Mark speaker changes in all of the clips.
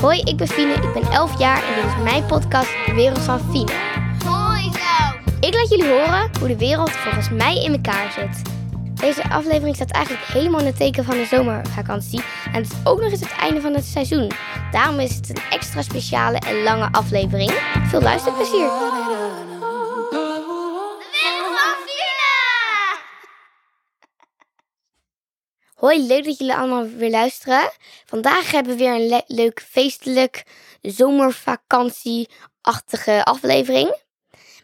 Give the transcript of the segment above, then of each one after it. Speaker 1: Hoi, ik ben Fine, ik ben 11 jaar en dit is mijn podcast De Wereld van Fine.
Speaker 2: Mooi zo.
Speaker 1: Ik laat jullie horen hoe de wereld volgens mij in elkaar zit. Deze aflevering staat eigenlijk helemaal in het teken van de zomervakantie en het is ook nog eens het einde van het seizoen. Daarom is het een extra speciale en lange aflevering. Veel luisterplezier! Hoi, leuk dat jullie allemaal weer luisteren. Vandaag hebben we weer een le- leuk feestelijk zomervakantie-achtige aflevering.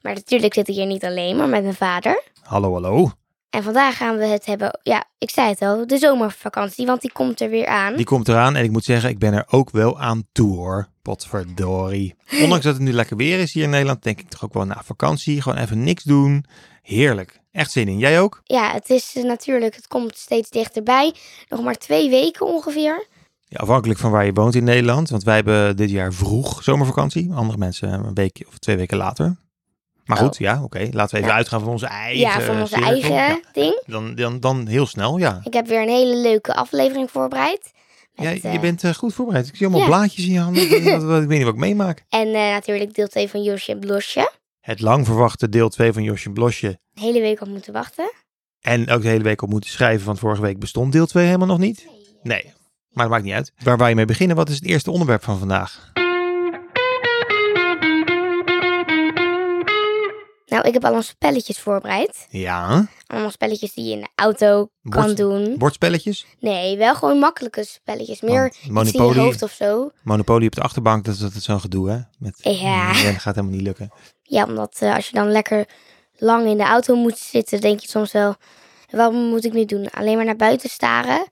Speaker 1: Maar natuurlijk zit ik hier niet alleen, maar met mijn vader.
Speaker 3: Hallo, hallo.
Speaker 1: En vandaag gaan we het hebben, ja, ik zei het al, de zomervakantie, want die komt er weer aan.
Speaker 3: Die komt eraan en ik moet zeggen, ik ben er ook wel aan toe hoor. Potverdorie. Ondanks dat het nu lekker weer is hier in Nederland, denk ik toch ook wel na vakantie. Gewoon even niks doen. Heerlijk. Echt zin in. Jij ook?
Speaker 1: Ja, het is eh, natuurlijk, het komt steeds dichterbij. Nog maar twee weken ongeveer.
Speaker 3: Ja, afhankelijk van waar je woont in Nederland. Want wij hebben dit jaar vroeg zomervakantie. Andere mensen een week of twee weken later. Maar goed, ja, oké. Laten we even
Speaker 1: Oh. Ja.
Speaker 3: uitgaan van onze eigen
Speaker 1: ja, van onze
Speaker 3: cirkel.
Speaker 1: eigen
Speaker 3: Ja,
Speaker 1: ding.
Speaker 3: dan, dan, dan heel snel, ja.
Speaker 1: Ik heb weer een hele leuke aflevering voorbereid.
Speaker 3: ja
Speaker 1: Met,
Speaker 3: je
Speaker 1: eh,
Speaker 3: bent eh, goed voorbereid. Ik zie allemaal
Speaker 1: ja.
Speaker 3: blaadjes in je handen. ik, weet niet wat- ik weet niet wat ik meemaak.
Speaker 1: En eh, natuurlijk deel 2 van Josje en Blosje.
Speaker 3: Het lang verwachte deel 2 van Josje en Blosje
Speaker 1: Een hele week op moeten wachten.
Speaker 3: En ook de hele week op moeten schrijven, want vorige week bestond deel 2 helemaal nog niet. Nee, maar dat maakt niet uit. Waar wij mee beginnen, wat is het eerste onderwerp van vandaag?
Speaker 1: Nou, ik heb allemaal spelletjes voorbereid.
Speaker 3: Ja,
Speaker 1: Allemaal spelletjes die je in de auto kan
Speaker 3: Bord-
Speaker 1: doen.
Speaker 3: bordspelletjes.
Speaker 1: Nee, wel gewoon makkelijke spelletjes. Meer
Speaker 3: Want
Speaker 1: iets in je
Speaker 3: Monopoly,
Speaker 1: hoofd of zo.
Speaker 3: Monopoly op de achterbank, dat is altijd zo'n gedoe, hè? Met,
Speaker 1: Ja.
Speaker 3: Nee, dat gaat helemaal niet lukken.
Speaker 1: Ja, omdat eh, als je dan lekker lang in de auto moet zitten, denk je soms wel... Wat moet ik nu doen? Alleen maar naar buiten staren?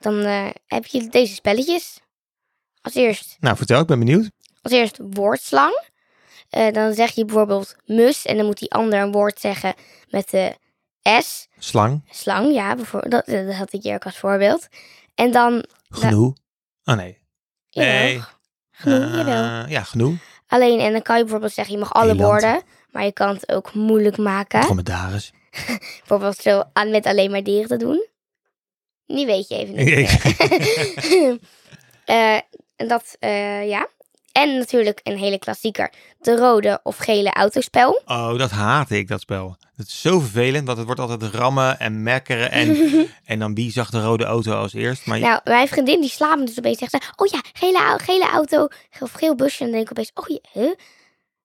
Speaker 1: Dan eh, heb je deze spelletjes. Als eerst,
Speaker 3: Nou, vertel, ik ben benieuwd.
Speaker 1: als eerst woordslang. Eh, dan zeg je bijvoorbeeld mus en dan moet die ander een woord zeggen met de S.
Speaker 3: Slang,
Speaker 1: Slang, ja, bijvoorbeeld. Dat, eh, dat had ik hier ook als voorbeeld. En dan...
Speaker 3: genoeg. Oh nee.
Speaker 1: jawel,
Speaker 3: Nee.
Speaker 1: genoeg, jawel.
Speaker 3: Eh, ja, genoeg.
Speaker 1: Alleen, en dan kan je bijvoorbeeld zeggen, je mag alle
Speaker 3: Eland.
Speaker 1: woorden, maar je kan het ook moeilijk maken.
Speaker 3: Dromedaris.
Speaker 1: Bijvoorbeeld zo aan met alleen maar dieren te doen. Die weet je even niet. Eh, en dat, eh, ja. En natuurlijk een hele klassieker. De rode of gele autospel.
Speaker 3: Oh, dat haat ik, dat spel. Dat is zo vervelend, want het wordt altijd rammen en mekkeren. En, en dan wie zag de rode auto als eerst? Maar
Speaker 1: Nou, mijn vriendin die slaapt me dus opeens. Zegt ze, oh ja, gele, au- gele auto of geel busje. En dan denk ik opeens, oh ja, huh?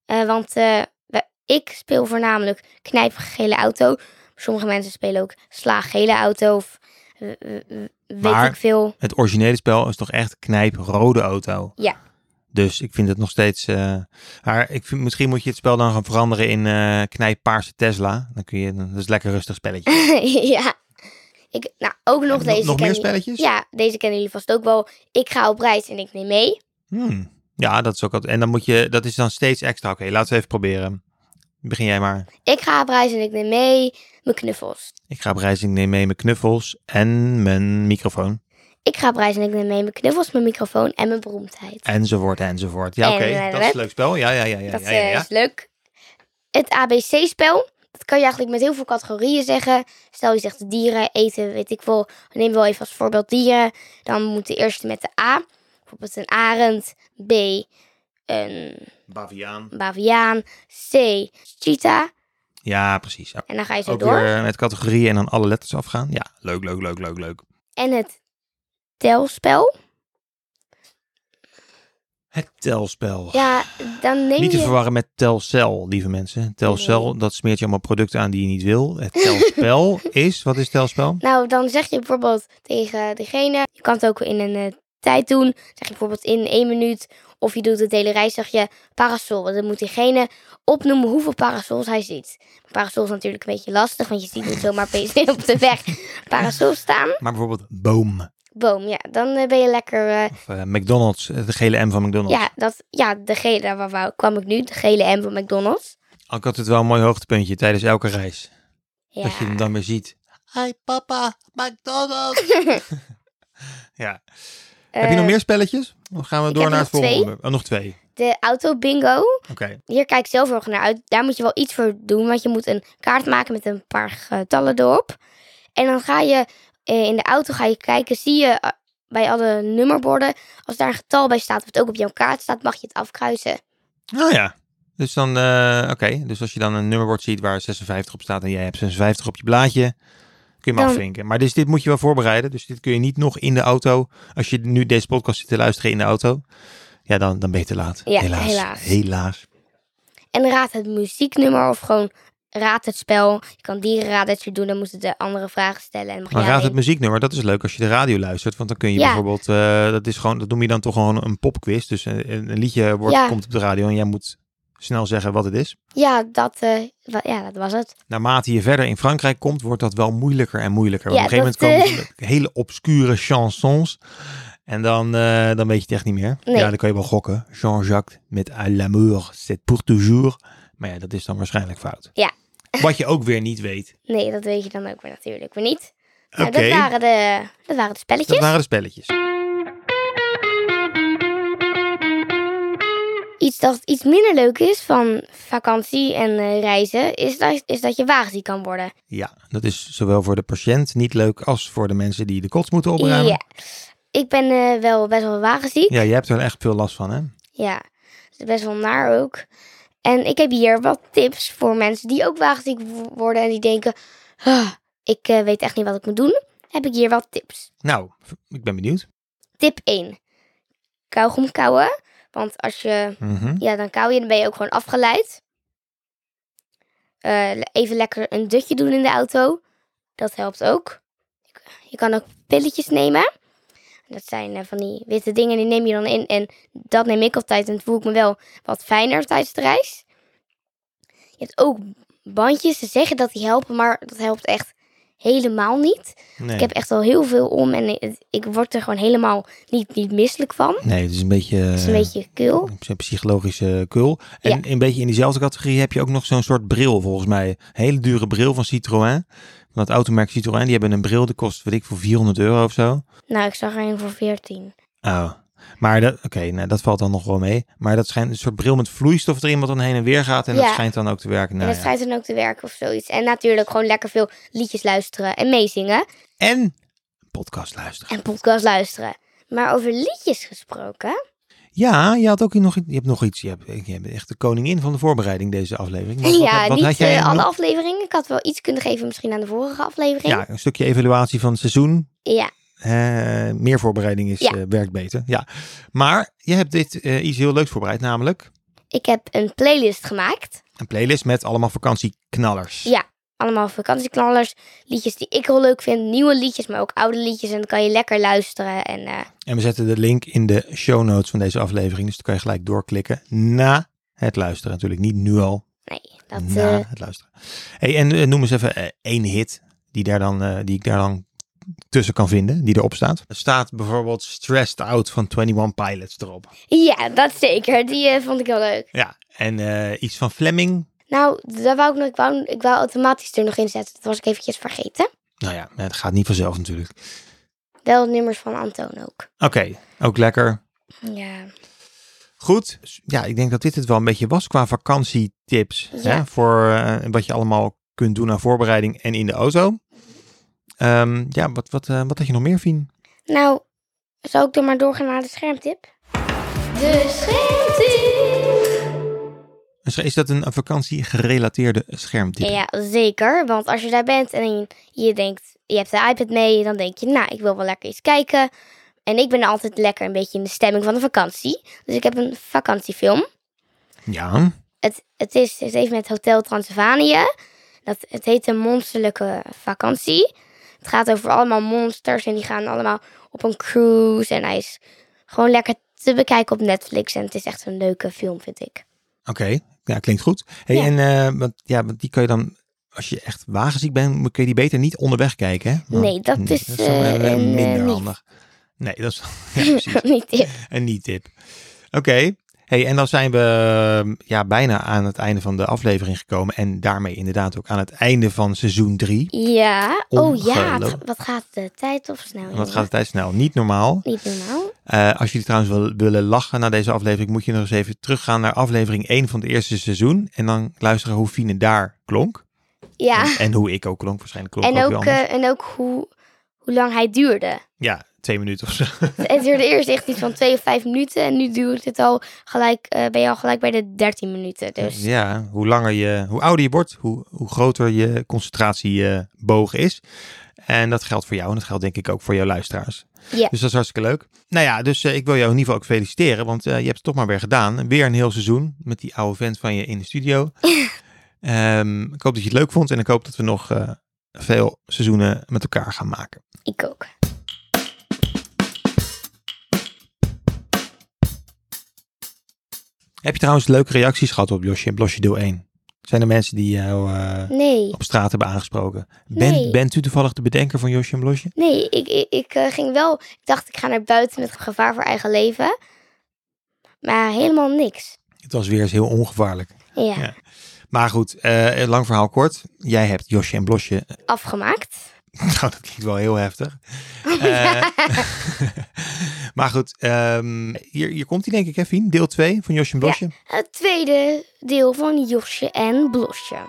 Speaker 1: Eh, want eh, we- ik speel voornamelijk knijpgele auto. Sommige mensen spelen ook slaaggele auto of eh, eh, eh, weet
Speaker 3: Maar-
Speaker 1: ik veel.
Speaker 3: Het originele spel is toch echt knijp rode auto.
Speaker 1: Ja.
Speaker 3: Dus ik vind het nog steeds. eh, maar ik vind, misschien moet je het spel dan gaan veranderen in eh knijp paarse Tesla. Dan kun je. Dat is lekker rustig spelletje.
Speaker 1: ja. Ik, nou, ook nog deze.
Speaker 3: nog
Speaker 1: ken-
Speaker 3: meer spelletjes?
Speaker 1: Ja, deze kennen jullie vast ook wel. Ik ga op reis en ik neem mee.
Speaker 3: Hmm. Ja, dat is ook altijd. En dan moet je. Dat is dan steeds extra. Oké, laten we even proberen. Begin jij maar.
Speaker 1: Ik ga op reis en ik neem mee mijn knuffels.
Speaker 3: Ik ga op reis. Ik neem mee mijn knuffels en mijn microfoon.
Speaker 1: Ik ga op reis en ik neem mee mijn knuffels, mijn microfoon en mijn beroemdheid.
Speaker 3: Enzovoort, enzovoort. Ja,
Speaker 1: En,
Speaker 3: oké.
Speaker 1: eh,
Speaker 3: dat is een leuk spel. Ja, ja, ja, ja.
Speaker 1: dat
Speaker 3: ja, ja,
Speaker 1: eh,
Speaker 3: ja.
Speaker 1: is leuk. Het ABC-spel. Dat kan je eigenlijk met heel veel categorieën zeggen. Stel je zegt dieren, eten, weet ik veel. Neem wel even als voorbeeld dieren. Dan moet de eerste met de A. Bijvoorbeeld een arend. B. Een
Speaker 3: Baviaan.
Speaker 1: baviaan. C. Cheetah.
Speaker 3: Ja, precies. Ja.
Speaker 1: En dan ga je zo
Speaker 3: Ook
Speaker 1: door.
Speaker 3: Oh, weer met categorieën en dan alle letters afgaan. Ja, leuk, leuk, leuk, leuk, leuk.
Speaker 1: En het telspel.
Speaker 3: Het telspel.
Speaker 1: Ja, dan neem
Speaker 3: niet te
Speaker 1: je...
Speaker 3: verwarren met Telcel, lieve mensen. Telcel, dat smeert je allemaal producten aan die je niet wil. Het telspel is, wat is telspel?
Speaker 1: Nou, dan zeg je bijvoorbeeld tegen degene... Je kan het ook in een eh, tijd doen. Zeg je bijvoorbeeld in één minuut. Of je doet het hele reis, zeg je parasol. En dan moet diegene opnoemen hoeveel parasols hij ziet. Parasol is natuurlijk een beetje lastig, want je ziet niet zomaar opeens op de weg parasol staan.
Speaker 3: Maar bijvoorbeeld boom.
Speaker 1: Boom, ja. Dan eh, ben je lekker... eh,
Speaker 3: Of eh, McDonald's, eh, de gele M van McDonald's.
Speaker 1: ja, dat, ja, de gele, daar waar- waar kwam ik nu? De gele M van McDonald's.
Speaker 3: Ik had het wel een mooi hoogtepuntje tijdens elke reis.
Speaker 1: Ja.
Speaker 3: Dat je hem dan weer ziet. Hi papa, McDonald's. ja. Heb je nog
Speaker 1: Eh,
Speaker 3: meer spelletjes? Of gaan we
Speaker 1: ik
Speaker 3: door
Speaker 1: heb
Speaker 3: naar
Speaker 1: er
Speaker 3: het
Speaker 1: nog
Speaker 3: volgende?
Speaker 1: twee.
Speaker 3: onderwerp? Oh, nog twee.
Speaker 1: De auto bingo.
Speaker 3: Oké.
Speaker 1: Hier kijk ik zelf heel erg naar uit. Daar moet je wel iets voor doen. Want je moet een kaart maken met een paar getallen erop. En dan ga je eh, in de auto ga je kijken. Zie je eh, bij alle nummerborden, als daar een getal bij staat, of het ook op jouw kaart staat, mag je het afkruisen.
Speaker 3: Nou ja. Dus dan, eh, oké. Dus als je dan een nummerbord ziet waar 56 op staat en jij hebt 56 op je blaadje, kun je hem
Speaker 1: Dan-
Speaker 3: afvinken. Maar dus dit moet je wel voorbereiden. Dus dit kun je niet nog in de auto. Als je nu deze podcast zit te luisteren in de auto, ja, dan, dan ben je te laat.
Speaker 1: Ja,
Speaker 3: helaas.
Speaker 1: helaas.
Speaker 3: Helaas.
Speaker 1: En raad het muzieknummer of gewoon raad het spel. Je kan dierenradertje doen, dan moeten de andere vragen stellen. En mag
Speaker 3: Maar
Speaker 1: jij
Speaker 3: raad
Speaker 1: alleen-
Speaker 3: het muzieknummer, dat is leuk als je de radio luistert. Want dan kun je
Speaker 1: Ja.
Speaker 3: bijvoorbeeld, eh, dat is gewoon, dat noem je dan toch gewoon een popquiz. Dus een, een- een liedje wordt,
Speaker 1: Ja.
Speaker 3: komt op de radio en jij moet snel zeggen wat het is.
Speaker 1: Ja, dat, eh, wa- ja, dat was het.
Speaker 3: Naarmate je verder in Frankrijk komt, wordt dat wel moeilijker en moeilijker. Want
Speaker 1: Ja,
Speaker 3: op een gegeven
Speaker 1: dat, eh,
Speaker 3: moment komen er hele obscure chansons. En dan, eh, dan weet je het echt niet meer.
Speaker 1: Nee.
Speaker 3: Ja, dan kan je wel gokken. Jean-Jacques met à l'amour, c'est pour toujours. Maar ja, dat is dan waarschijnlijk fout.
Speaker 1: Ja.
Speaker 3: Wat je ook weer niet weet.
Speaker 1: Nee, dat weet je dan ook weer natuurlijk weer niet.
Speaker 3: Oké,
Speaker 1: Nou, dat, waren de, dat waren de spelletjes.
Speaker 3: dat waren de spelletjes.
Speaker 1: Iets dat iets minder leuk is van vakantie en eh, reizen, is dat, is dat je wagenziek kan worden.
Speaker 3: Ja, dat is zowel voor de patiënt niet leuk als voor de mensen die de kots moeten opruimen.
Speaker 1: Ja. Ik ben eh, wel best wel wagenziek.
Speaker 3: Ja, jij hebt er echt veel last van, hè?
Speaker 1: Ja, dat is best wel naar ook. En ik heb hier wat tips voor mensen die ook wagenziek wo- worden en die denken: "Ah, ik eh, weet echt niet wat ik moet doen. Heb ik hier wat tips.
Speaker 3: Nou, ik ben benieuwd.
Speaker 1: Tip 1: kauwgom kauwen. Want als je,
Speaker 3: Mhm.
Speaker 1: ja, dan kauw je en dan ben je ook gewoon afgeleid. Eh, le- even lekker een dutje doen in de auto. Dat helpt ook. Je kan ook pilletjes nemen. Dat zijn eh, van die witte dingen, die neem je dan in. En dat neem ik altijd en voel ik me wel wat fijner tijdens de reis. Je hebt ook bandjes. Ze zeggen dat die helpen, maar dat helpt echt helemaal niet.
Speaker 3: Nee.
Speaker 1: Ik heb echt al heel veel om en ik, ik word er gewoon helemaal niet, niet misselijk van.
Speaker 3: nee, het is een beetje...
Speaker 1: Het is een beetje kil.
Speaker 3: Een psychologische kul. En een beetje in diezelfde categorie heb je ook nog zo'n soort bril, volgens mij. Een hele dure bril van Citroën. Van dat automerk Citroën. Die hebben een bril, die kost, weet ik, voor 400 euro of zo.
Speaker 1: Nou, ik zag er een voor 14.
Speaker 3: Oh. Maar dat, oké, nou, dat valt dan nog wel mee. Maar dat schijnt een soort bril met vloeistof erin, wat dan heen en weer gaat. En dat
Speaker 1: Ja.
Speaker 3: schijnt dan ook te werken.
Speaker 1: en
Speaker 3: Nou,
Speaker 1: dat
Speaker 3: ja.
Speaker 1: schijnt dan ook te werken of zoiets. En natuurlijk gewoon lekker veel liedjes luisteren en meezingen.
Speaker 3: En een podcast luisteren.
Speaker 1: En podcast luisteren. Maar over liedjes gesproken.
Speaker 3: Ja, je had ook nog, i- je hebt nog iets. Je, hebt, je bent echt de koningin van de voorbereiding deze aflevering. Maar wat-
Speaker 1: ja,
Speaker 3: wat, wat
Speaker 1: niet
Speaker 3: had jij
Speaker 1: eh,
Speaker 3: nog?
Speaker 1: alle afleveringen. Ik had wel iets kunnen geven misschien aan de vorige aflevering.
Speaker 3: Ja, een stukje evaluatie van het seizoen.
Speaker 1: ja.
Speaker 3: Eh, meer voorbereiding is,
Speaker 1: Ja.
Speaker 3: eh, werkt beter. Ja. Maar je hebt dit eh, iets heel leuks voorbereid, namelijk
Speaker 1: Ik heb een playlist gemaakt.
Speaker 3: een playlist met allemaal vakantieknallers.
Speaker 1: Ja. Allemaal vakantieknallers. Liedjes die ik heel leuk vind. Nieuwe liedjes, maar ook oude liedjes. En dan kan je lekker luisteren. En eh,
Speaker 3: En we zetten de link in de show notes van deze aflevering. Dus dan kan je gelijk doorklikken na het luisteren. Natuurlijk niet nu al,
Speaker 1: nee, dat...
Speaker 3: na
Speaker 1: eh,
Speaker 3: het luisteren. Hey, en eh, noem eens even eh, één hit die, daar dan, eh, die ik daar dan tussen kan vinden, die erop staat. Er staat bijvoorbeeld Stressed Out van 21 Pilots erop.
Speaker 1: eh, ja, dat zeker. Die eh, vond ik heel leuk.
Speaker 3: Ja, en eh, iets van Fleming.
Speaker 1: Nou, daar wou ik, nog, ik, wou, ik wou automatisch er nog in zetten. Dat was ik eventjes vergeten.
Speaker 3: Nou ja, het gaat niet vanzelf natuurlijk.
Speaker 1: Wel nummers van Antoon ook.
Speaker 3: Oké, ook lekker.
Speaker 1: Ja.
Speaker 3: Goed. Ja, ik denk dat dit het wel een beetje was qua vakantietips. Hè,
Speaker 1: Ja.
Speaker 3: voor eh, wat je allemaal kunt doen aan voorbereiding en in de auto. Ehm, ja, wat, wat, eh, wat had je nog meer, Fien?
Speaker 1: Nou, zou ik dan maar doorgaan naar de schermtip? De schermtip!
Speaker 3: Is- Is dat een, een vakantiegerelateerde schermtip?
Speaker 1: Ja, zeker. Want als je daar bent en je denkt, je hebt de iPad mee, dan denk je, nou, ik wil wel lekker iets kijken. En ik ben altijd lekker een beetje in de stemming van de vakantie. Dus ik heb een vakantiefilm.
Speaker 3: Ja.
Speaker 1: Het, het, is, het heeft met Hotel Transylvanië. Dat, het heet een monsterlijke vakantie. Het gaat over allemaal monsters en die gaan allemaal op een cruise. En hij is gewoon lekker te bekijken op Netflix. En het is echt een leuke film, vind ik.
Speaker 3: Oké, ja, klinkt goed. Hey,
Speaker 1: Ja.
Speaker 3: En eh, want, ja, want die kan je dan, als je echt wagenziek bent, moet- kun je die beter niet onderweg kijken. Hè? Want- hm,
Speaker 1: Nee, dat is,
Speaker 3: dan
Speaker 1: eh,
Speaker 3: wel
Speaker 1: een, eh,
Speaker 3: minder
Speaker 1: niet.
Speaker 3: handig. Nee, dat is ja, precies.
Speaker 1: Niet tip.
Speaker 3: Een niet-tip. Oké. Hey, en dan zijn we eh, ja, bijna aan het einde van de aflevering gekomen. En daarmee inderdaad ook aan het einde van seizoen 3.
Speaker 1: Ja. Oh ja, het-
Speaker 3: Ongelooflijk.
Speaker 1: wat gaat de tijd of snel?
Speaker 3: Wat
Speaker 1: jongen?
Speaker 3: gaat de tijd snel? Niet normaal.
Speaker 1: Niet normaal.
Speaker 3: Eh, als jullie trouwens wel willen lachen na deze aflevering, moet je nog eens even teruggaan naar aflevering 1 van het eerste seizoen. En dan luisteren hoe Fine daar klonk.
Speaker 1: Ja.
Speaker 3: En, en hoe ik ook eh, klonk. Waarschijnlijk klonk
Speaker 1: En
Speaker 3: ook, weer
Speaker 1: ook,
Speaker 3: anders.
Speaker 1: eh, en ook hoe, hoe lang hij duurde.
Speaker 3: Ja, twee minuten of zo.
Speaker 1: Het duurde eerst echt iets van twee of vijf minuten. En nu duurt het al gelijk, eh, ben je al gelijk bij de 13 minuten. Dus
Speaker 3: Ja, hoe langer je, hoe ouder je wordt, hoe, hoe groter je concentratieboog is. En dat geldt voor jou en dat geldt denk ik ook voor jouw luisteraars.
Speaker 1: Ja.
Speaker 3: Dus dat is hartstikke leuk. Nou ja, dus eh, ik wil jou in ieder geval ook feliciteren, want eh, je hebt het toch maar weer gedaan. Weer een heel seizoen met die oude vent van je in de studio. Ehm, ik hoop dat je het leuk vond en ik hoop dat we nog eh, veel seizoenen met elkaar gaan maken.
Speaker 1: ik ook.
Speaker 3: Heb je trouwens leuke reacties gehad op Blosje, Blosje deel 1? Zijn er mensen die jou eh,
Speaker 1: Nee,
Speaker 3: op straat hebben aangesproken? Ben,
Speaker 1: Nee.
Speaker 3: Bent u toevallig de bedenker van Josje en Blosje?
Speaker 1: nee, ik, ik, ik eh, ging wel. Ik dacht, ik ga naar buiten met gevaar voor eigen leven. Maar helemaal niks.
Speaker 3: Het was weer eens heel ongevaarlijk.
Speaker 1: Ja,
Speaker 3: Ja. Maar goed, eh, lang verhaal kort. Jij hebt Josje en Blosje.
Speaker 1: afgemaakt.
Speaker 3: Nou, dat klinkt wel heel heftig.
Speaker 1: Oh,
Speaker 3: Eh, maar goed, ehm, hier, hier komt hij denk ik, hè, Fien? Deel 2 van Josje en Blosje.
Speaker 1: Het tweede deel van Josje en Blosje.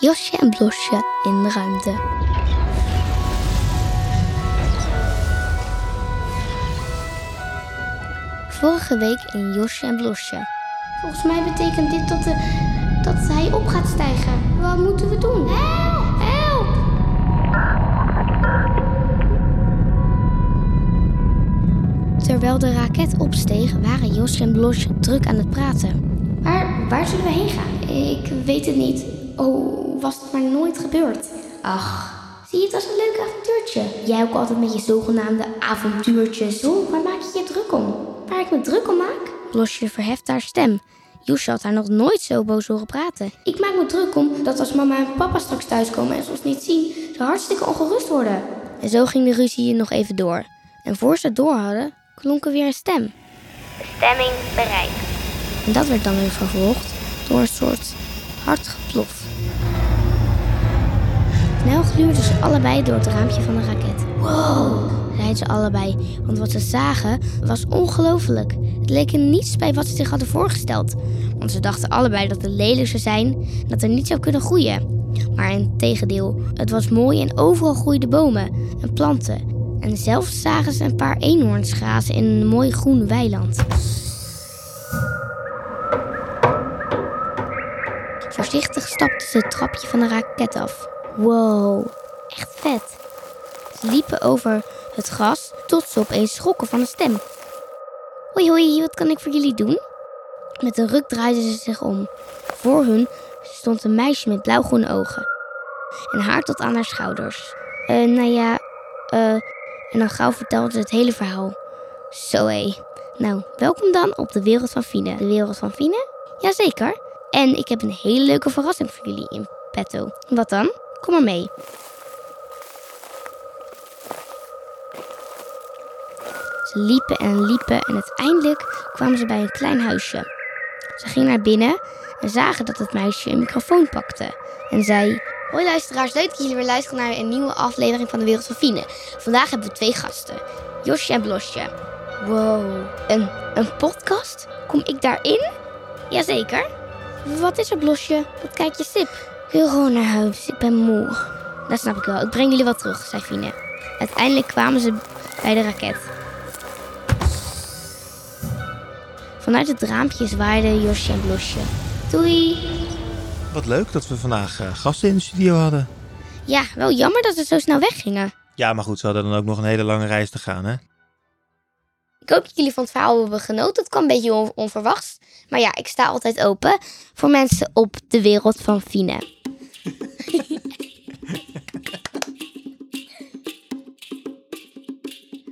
Speaker 1: Josje en Blosje in de ruimte. Vorige week in Josje en Blosje. Volgens mij betekent dit dat, de, dat hij op gaat stijgen. Wat moeten we doen? Help! Help! Terwijl de raket opsteeg, waren Josje en Blosje druk aan het praten. Waar, waar zullen we heen gaan? Ik weet het niet. Oh, was het maar nooit gebeurd. Ach. Zie je het als een leuk avontuurtje? Jij ook altijd met je zogenaamde avontuurtjes. Zo, waar maak je je druk om? Waar ik me druk om maak? Blosje verheft haar stem. Josje had haar nog nooit zo boos horen praten. Ik maak me druk om dat als mama en papa straks thuiskomen en ze ons niet zien, ze hartstikke ongerust worden. En zo ging de ruzie nog even door. En voor ze het door hadden, klonk er weer een stem.
Speaker 2: Stemming bereikt.
Speaker 1: En dat werd dan weer vervolgd door een soort hard geplof. Snel gluurden ze allebei door het raampje van de raket. Wow, zeiden ze allebei, want wat ze zagen was ongelooflijk. Het leek in niets bij wat ze zich hadden voorgesteld. Want ze dachten allebei dat het lelijk zou zijn en dat er niet zou kunnen groeien. Maar in tegendeel, het was mooi en overal groeiden bomen en planten. En zelfs zagen ze een paar eenhoorns grazen in een mooi groen weiland. Voorzichtig stapte ze het trapje van de raket af. Wow, echt vet. Ze liepen over het gras tot ze opeens schrokken van een stem. Hoi hoi, wat kan ik voor jullie doen? Met een ruk draaiden ze zich om. Voor hun stond een meisje met blauwgroene ogen. En haar tot aan haar schouders. Eh, nou ja, eh, en dan gauw vertelde ze het hele verhaal. Zo hé. Nou, welkom dan op de wereld van Fine. De wereld van Fine? Jazeker. En ik heb een hele leuke verrassing voor jullie in petto. Wat dan? Kom maar mee. Ze liepen en liepen en uiteindelijk kwamen ze bij een klein huisje. Ze gingen naar binnen en zagen dat het meisje een microfoon pakte en zei... Hoi luisteraars, leuk dat jullie weer luisteren naar een nieuwe aflevering van De Wereld van Fine. Vandaag hebben we twee gasten, Josje en Blosje. Wow, een, een podcast? Kom ik daarin? Jazeker. Wat is er, Blosje? Wat kijk je sip? Ik wil gewoon naar huis. Ik ben moe. Dat snap ik wel. Ik breng jullie wel terug, zei Fine. Uiteindelijk kwamen ze bij de raket. Vanuit het raampje zwaaiden Josje en Blosje. Doei!
Speaker 3: Wat leuk dat we vandaag eh, gasten in de studio hadden.
Speaker 1: Ja, wel jammer dat ze zo snel weggingen.
Speaker 3: Ja, maar goed, ze hadden dan ook nog een hele lange reis te gaan, hè?
Speaker 1: Ik hoop dat jullie van het verhaal hebben genoten. Het kwam een beetje on- onverwachts. Maar ja, ik sta altijd open voor mensen op de wereld van Fine.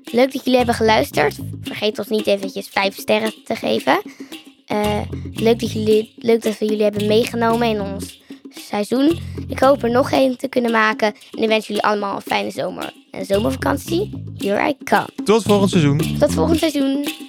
Speaker 1: Leuk dat jullie hebben geluisterd. Vergeet ons niet eventjes vijf sterren te geven. Eh, leuk, dat jullie, leuk dat we jullie hebben meegenomen in ons seizoen. Ik hoop er nog één te kunnen maken. En ik wens jullie allemaal een fijne zomer en zomervakantie. Here I come.
Speaker 3: Tot volgend seizoen.
Speaker 1: Tot volgend seizoen.